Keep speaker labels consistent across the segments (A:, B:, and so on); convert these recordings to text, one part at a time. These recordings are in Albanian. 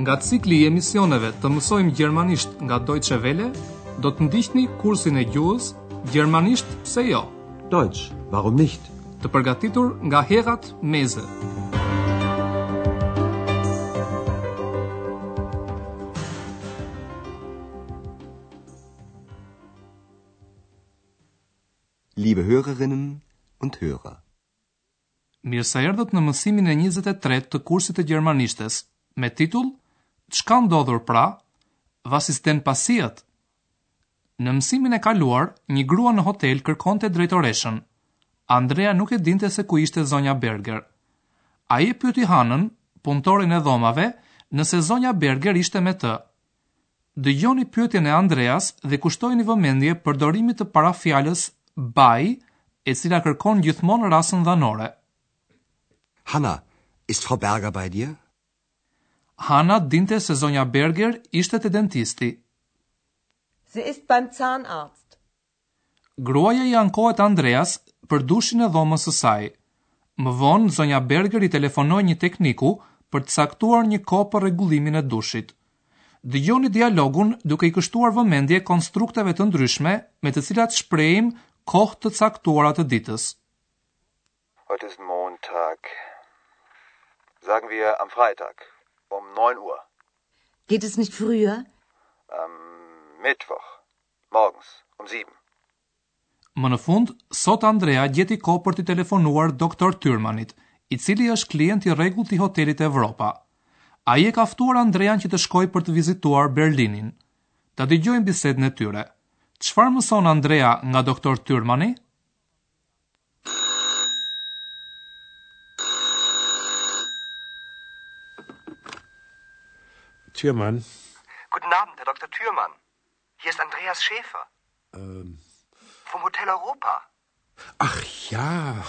A: Nga cikli i emisioneve të mësojmë gjermanisht nga Deutsche Welle, do të ndiqni kursin e gjuhës Gjermanisht pse jo,
B: Deutsch, warum nicht?
A: të përgatitur nga Herat Meze.
C: Liebe Hörerinnen und Hörer,
A: Mirë se erdhët në mësimin e 23 të kursit të gjermanishtes me titull Çka ndodhur pra? Was ist denn passiert? Në mësimin e kaluar, një grua në hotel kërkonte drejtoreshën. Andrea nuk e dinte se ku ishte zonja Berger. Ai e pyeti Hanën, punëtorin e dhomave, nëse zonja Berger ishte me të. Dëgjoni pyetjen e Andreas dhe kushtojini vëmendje përdorimit të parafjalës by, e cila kërkon gjithmonë rastin dhanore.
C: Hanna, ist Frau Berger bei dir?
A: Hana dinte se zonja Berger ishte te dentisti.
D: Sie ist beim Zahnarzt.
A: Gruaja i ankohet Andreas për dushin e dhomës së saj. Më vonë zonja Berger i telefonoi një tekniku për të caktuar një kohë për rregullimin e dushit. Dëgjoni dialogun duke i kështuar vëmendje konstrukteve të ndryshme me të cilat shprehim kohë të caktuara të ditës.
E: Heute ist Montag. Sagen wir am Freitag um 9 Uhr.
F: Geht es nicht früher?
E: Am Mittwoch morgens um 7.
A: Më në fund, sot Andrea gjeti kohë për të telefonuar doktor Tyrmanit, i cili është klient i rregullt i hotelit Evropa. Ai e ka ftuar Andrean që të shkojë për të vizituar Berlinin. Ta dëgjojmë bisedën e tyre. Çfarë mëson Andrea nga doktor Tyrmani?
B: Türmann,
G: Guten Abend, Herr Dr. Thürmann. Hier ist Andreas Schäfer
B: ähm,
G: vom Hotel Europa.
B: ach ja.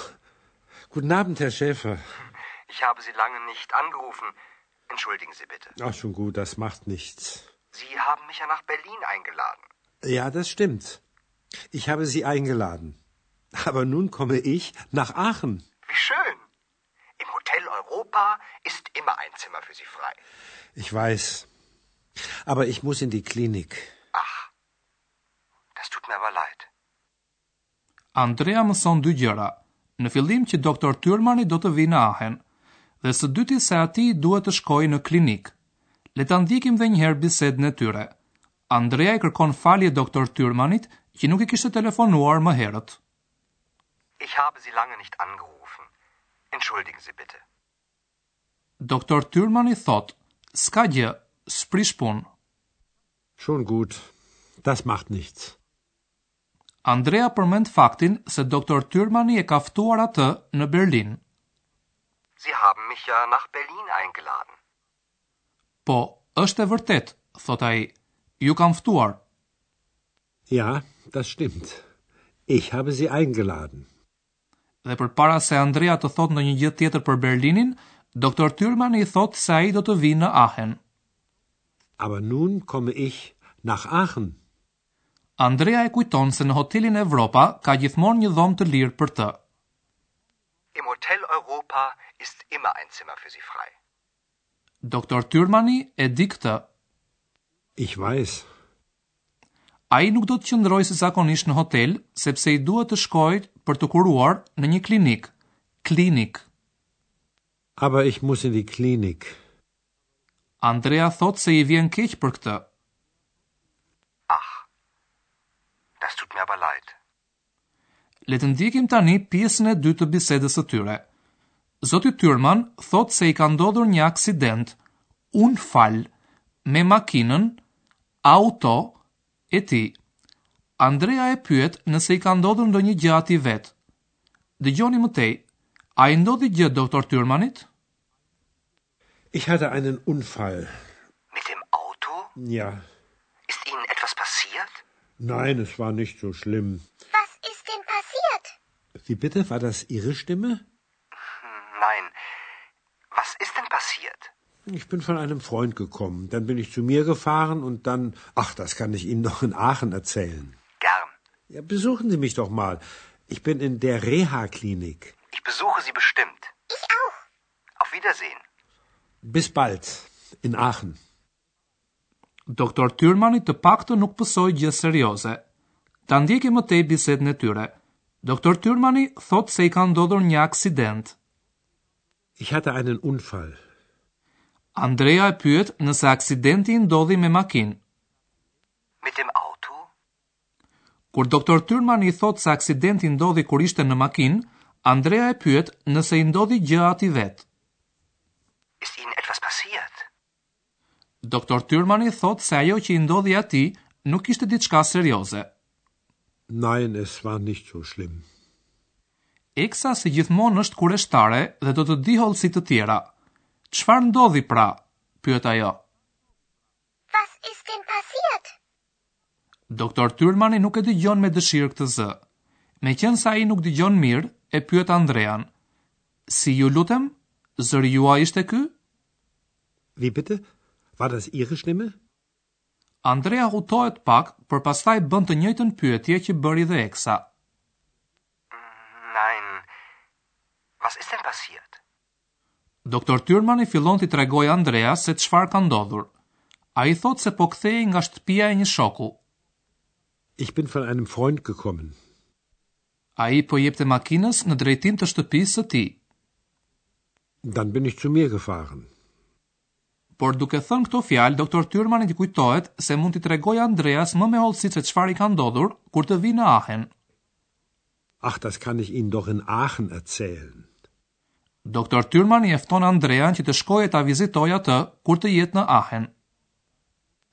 B: Guten Abend, Herr Schäfer.
G: Ich habe Sie lange nicht angerufen. Entschuldigen Sie bitte.
B: Ach, schon gut, das macht nichts.
G: Sie haben mich ja nach Berlin eingeladen.
B: Ja, das stimmt. Ich habe Sie eingeladen. Aber nun komme ich nach Aachen.
G: Wie schön. Im Hotel Europa ist immer ein Zimmer für Sie frei.
B: Ich weiß. Aber ich muss in die Klinik.
G: Ach, das tut mir aber leid.
A: Andrea mëson dy gjëra. Në fillim që doktor Tyrmani do të vinë në Ahen, dhe së dyti se ati duhet të shkojë në klinik. Le ta ndjekim dhe njëherë bisedën e tyre. Andrea i kërkon falje doktor Tyrmanit që nuk i kishte telefonuar më herët.
G: Ich habe Sie lange nicht angerufen. Entschuldigen Sie bitte.
A: Doktor Tyrmani thot, s'ka gjë, s'prish punë.
B: Schon gut. Das macht nichts.
A: Andrea përmend faktin se doktor Tyrmani e ka ftuar atë në Berlin.
G: Sie haben mich ja nach Berlin eingeladen.
A: Po, është e vërtet, thot ai. Ju kam ftuar.
B: Ja, das stimmt. Ich habe Sie eingeladen.
A: dhe për para se Andrea të thot në një gjë tjetër për Berlinin, doktor Tyrman i thot se a i do të vi në Ahen.
B: Aber nun komme ich nach Aachen.
A: Andrea e kujton se në hotelin Evropa ka gjithmonë një dhomë të lirë për të.
G: Im Hotel Europa ist immer ein Zimmer für Sie frei.
A: Doktor Tyrmani e di këtë,
B: Ich weiß.
A: a i nuk do të qëndroj si zakonisht në hotel, sepse i duhet të shkojt për të kuruar në një klinik. Klinik.
B: Aber ich muss in die Klinik.
A: Andrea thot se i vjen keq për këtë.
G: Ach, das tut mir aber leid.
A: Le të ndjekim tani pjesën e dytë të bisedës së tyre. Zoti Tyrman thot se i ka ndodhur një aksident, un fal, me makinën, auto e ti. Andrea e pyet nëse i ka ndodhur ndonjë gjë atij vet. Dëgjoni më tej, a i ndodhi gjë doktor Tyrmanit?
B: Ich hatte einen Unfall.
G: Mit dem Auto?
B: Ja.
G: Ist Ihnen etwas passiert?
B: Nein, es war nicht so schlimm.
H: Was ist denn passiert?
B: Wie bitte? War das Ihre Stimme?
G: Nein. Was ist denn passiert?
B: Ich bin von einem Freund gekommen. Dann bin ich zu mir gefahren und dann. Ach, das kann ich Ihnen noch in Aachen erzählen.
G: Gern.
B: Ja, besuchen Sie mich doch mal. Ich bin in der Reha-Klinik.
G: Ich besuche Sie bestimmt. Ich auch. Auf Wiedersehen.
B: Bis bald. In Aachen.
A: Doktor Tyrmani të paktë nuk pësoj gjë serioze. Ta ndjeki më tej bisedën e tyre. Doktor Tyrmani thot se i ka ndodhur një aksident.
B: Ich hatte einen Unfall.
A: Andrea e pyet nëse aksidenti i ndodhi me makinë.
G: Mit dem Auto?
A: Kur doktor Tyrmani i thot se aksidenti ndodhi kur ishte në makinë, Andrea e pyet nëse i ndodhi gjë atij vet.
G: Ist Ihnen etwas passiert?
A: Doktor Tyrmani thot se ajo që i ndodhi atij nuk ishte diçka serioze.
B: Nein, es war nicht so schlimm.
A: Eksa si gjithmonë është kureshtare dhe do të di hollësi të tjera. Çfarë ndodhi pra? pyet ajo.
H: Was ist denn passiert?
A: Doktor Tyrmani nuk e dëgjon me dëshirë këtë zë. Me qenë sa i nuk dëgjon mirë, e pyet Andrean. Si ju lutem, zëri jua ishte ky?
B: Wie bitte? War das Ihre Stimme?
A: Andrea hutohet pak, për pastaj bën të njëjtën pyetje që bëri dhe Eksa.
G: Nein. Was ist denn passiert?
A: Doktor Tyrmani fillon t'i tregoj Andrea se çfarë ka ndodhur. A i thot se po kthehej nga shtëpia e një shoku.
B: Ich bin von einem Freund gekommen.
A: A i po jepte makinës në drejtim të shtëpisë së ti.
B: Dann bin ich zu mir gefahren.
A: Por duke thënë këto fjalë, doktor Tyrmani i kujtohet se mund t'i tregoj Andreas më me hollësi se çfarë i ka ndodhur kur të vi në Aachen.
B: Ach, das kann ich Ihnen doch in Aachen erzählen.
A: Doktor Tyrmani e fton Andrean që të shkojë ta vizitojë atë kur të jetë në Aachen.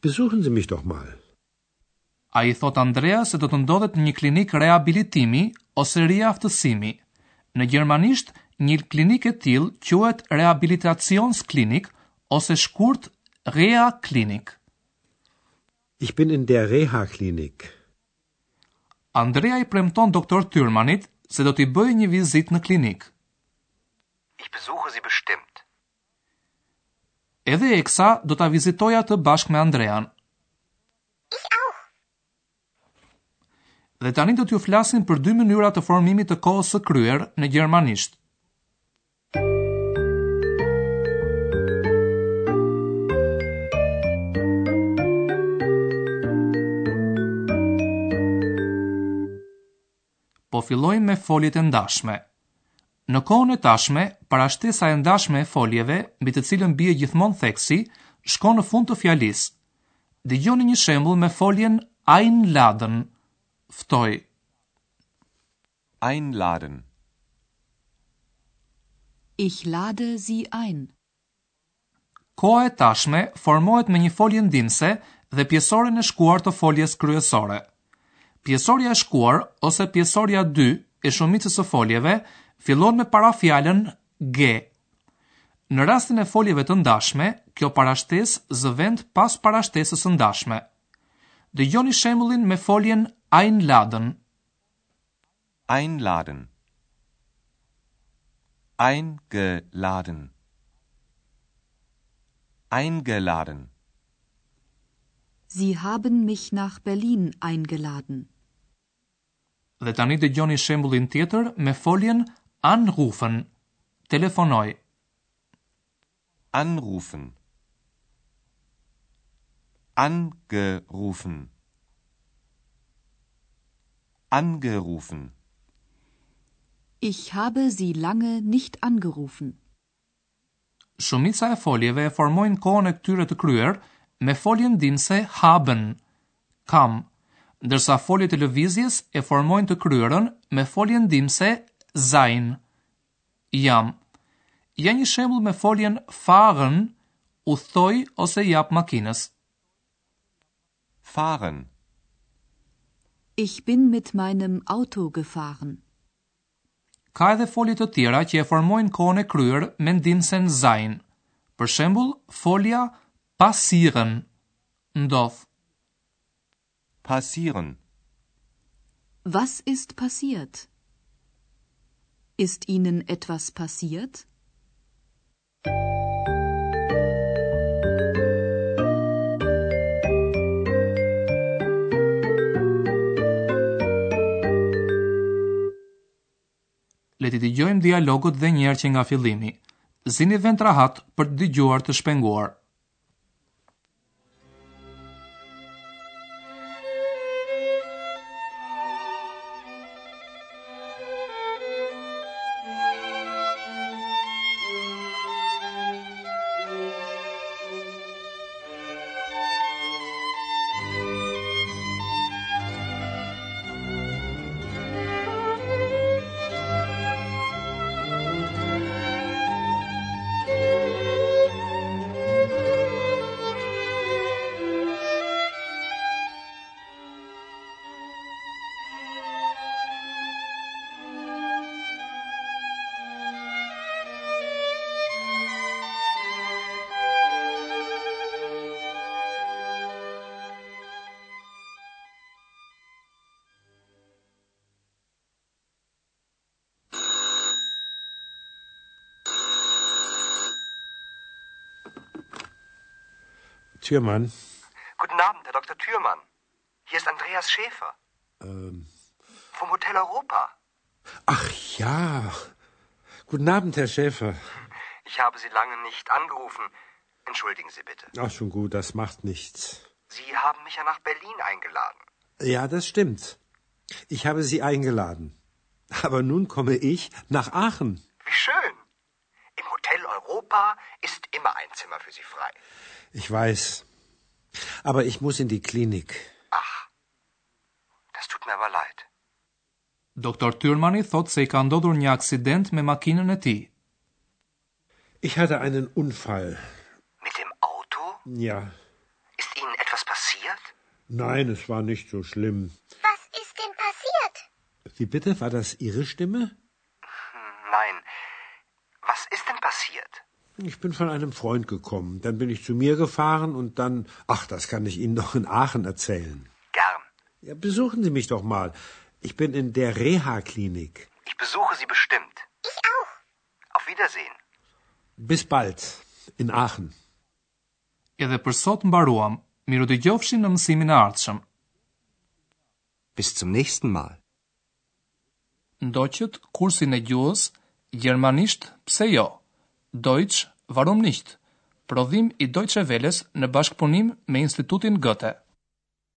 B: Besuchen Sie mich doch mal.
A: A i thot Andrea se do të ndodhet në një klinik rehabilitimi ose riaftësimi. Në gjermanisht, një klinik e tillë quhet rehabilitationsklinik ose shkurt Rea Klinik.
B: Ich bin in der Reha-Klinik.
A: Andrea i premton doktor Tyrmanit se do t'i bëjë një vizit në klinik.
G: Ich besuche Sie bestimmt.
A: Edhe Eksa do ta vizitoja të bashkë me Andrean.
H: Ich auch.
A: Dhe tani do t'ju flasin për dy mënyra të formimit të kohës së kryer në gjermanisht. po fillojmë me foljet e ndashme. Në kohën e tashme, parashtesa e ndashme e foljeve, mbi të cilën bie gjithmonë theksi, shkon në fund të fjalisë. Dëgjoni një shembull me foljen Einladen. Ftoj.
I: Einladen.
J: Ich lade Sie ein.
A: Koha e tashme formohet me një folje ndimse dhe pjesoren e shkuar të foljes kryesore. Pjesoria e shkuar ose pjesoria 2 e shumicës së foljeve fillon me parafjalën g. Në rastin e foljeve të ndashme, kjo parashtesë zë vend pas parashtesës së ndashme. Dëgjoni shembullin me foljen Einladen.
I: Einladen. Eingeladen. Eingeladen.
J: Sie haben mich nach Berlin eingeladen.
A: Dhe tani dëgjoni shembullin tjetër me foljen anrufen. Telefonoj.
I: Anrufen. Angerufen. Angerufen.
J: Ich habe Sie lange nicht angerufen.
A: Shumica e foljeve e formojnë kohën e këtyre të kryer me foljen ndimse haben, kam, ndërsa foljet e lëvizjes e formojnë të kryerën me foljen ndimse sein, jam. Ja një shembull me foljen fahren, u thoj ose jap makinës.
I: Fahren.
J: Ich bin mit meinem Auto gefahren.
A: Ka edhe folje të tjera që e formojnë kohën e kryer me ndimsen sein. Për shembull, folja passieren, ndodh.
I: Passieren.
J: Was ist passiert? Ist Ihnen etwas passiert?
A: Le t'i dëgjojmë dialogut dhe njerë që nga fillimi. Zini vend rahat për të dëgjuar të shpenguar.
B: Türmann,
G: Guten Abend, Herr Dr. Thürmann. Hier ist Andreas Schäfer
B: ähm,
G: vom Hotel Europa.
B: ach ja. Guten Abend, Herr Schäfer.
G: Ich habe Sie lange nicht angerufen. Entschuldigen Sie bitte.
B: Ach, schon gut, das macht nichts.
G: Sie haben mich ja nach Berlin eingeladen.
B: Ja, das stimmt. Ich habe Sie eingeladen. Aber nun komme ich nach Aachen.
G: Wie schön. Im Hotel Europa ist immer ein Zimmer für Sie frei.
B: Ich weiß. Aber ich muss in die Klinik.
G: Ach, das tut mir aber leid.
A: Doktor Tyrmani thot se i ka ndodhur një aksident me makinën e tij.
B: Ich hatte einen Unfall.
G: Mit dem Auto?
B: Ja.
G: Ist Ihnen etwas passiert?
B: Nein, es war nicht so schlimm.
H: Was ist denn passiert?
B: Wie bitte? War das Ihre Stimme?
G: Nein. Was ist denn passiert?
B: Ich bin von einem Freund gekommen. Dann bin ich zu mir gefahren und dann. Ach, das kann ich Ihnen noch in Aachen erzählen.
G: Gern.
B: Ja, besuchen Sie mich doch mal. Ich bin in der Reha-Klinik.
G: Ich besuche Sie bestimmt. Ich auch. Auf Wiedersehen.
B: Bis bald. In Aachen.
A: Edhe për sot mbaruam. Miru dëgjofshin në mësimin e ardhshëm.
C: Bis zum nächsten Mal.
A: Ndoqët kursin e gjuhës Gjermanisht pse jo? Deutsch, warum nicht? Prodhim i Deutsche Welles në bashkëpunim me Institutin Goethe.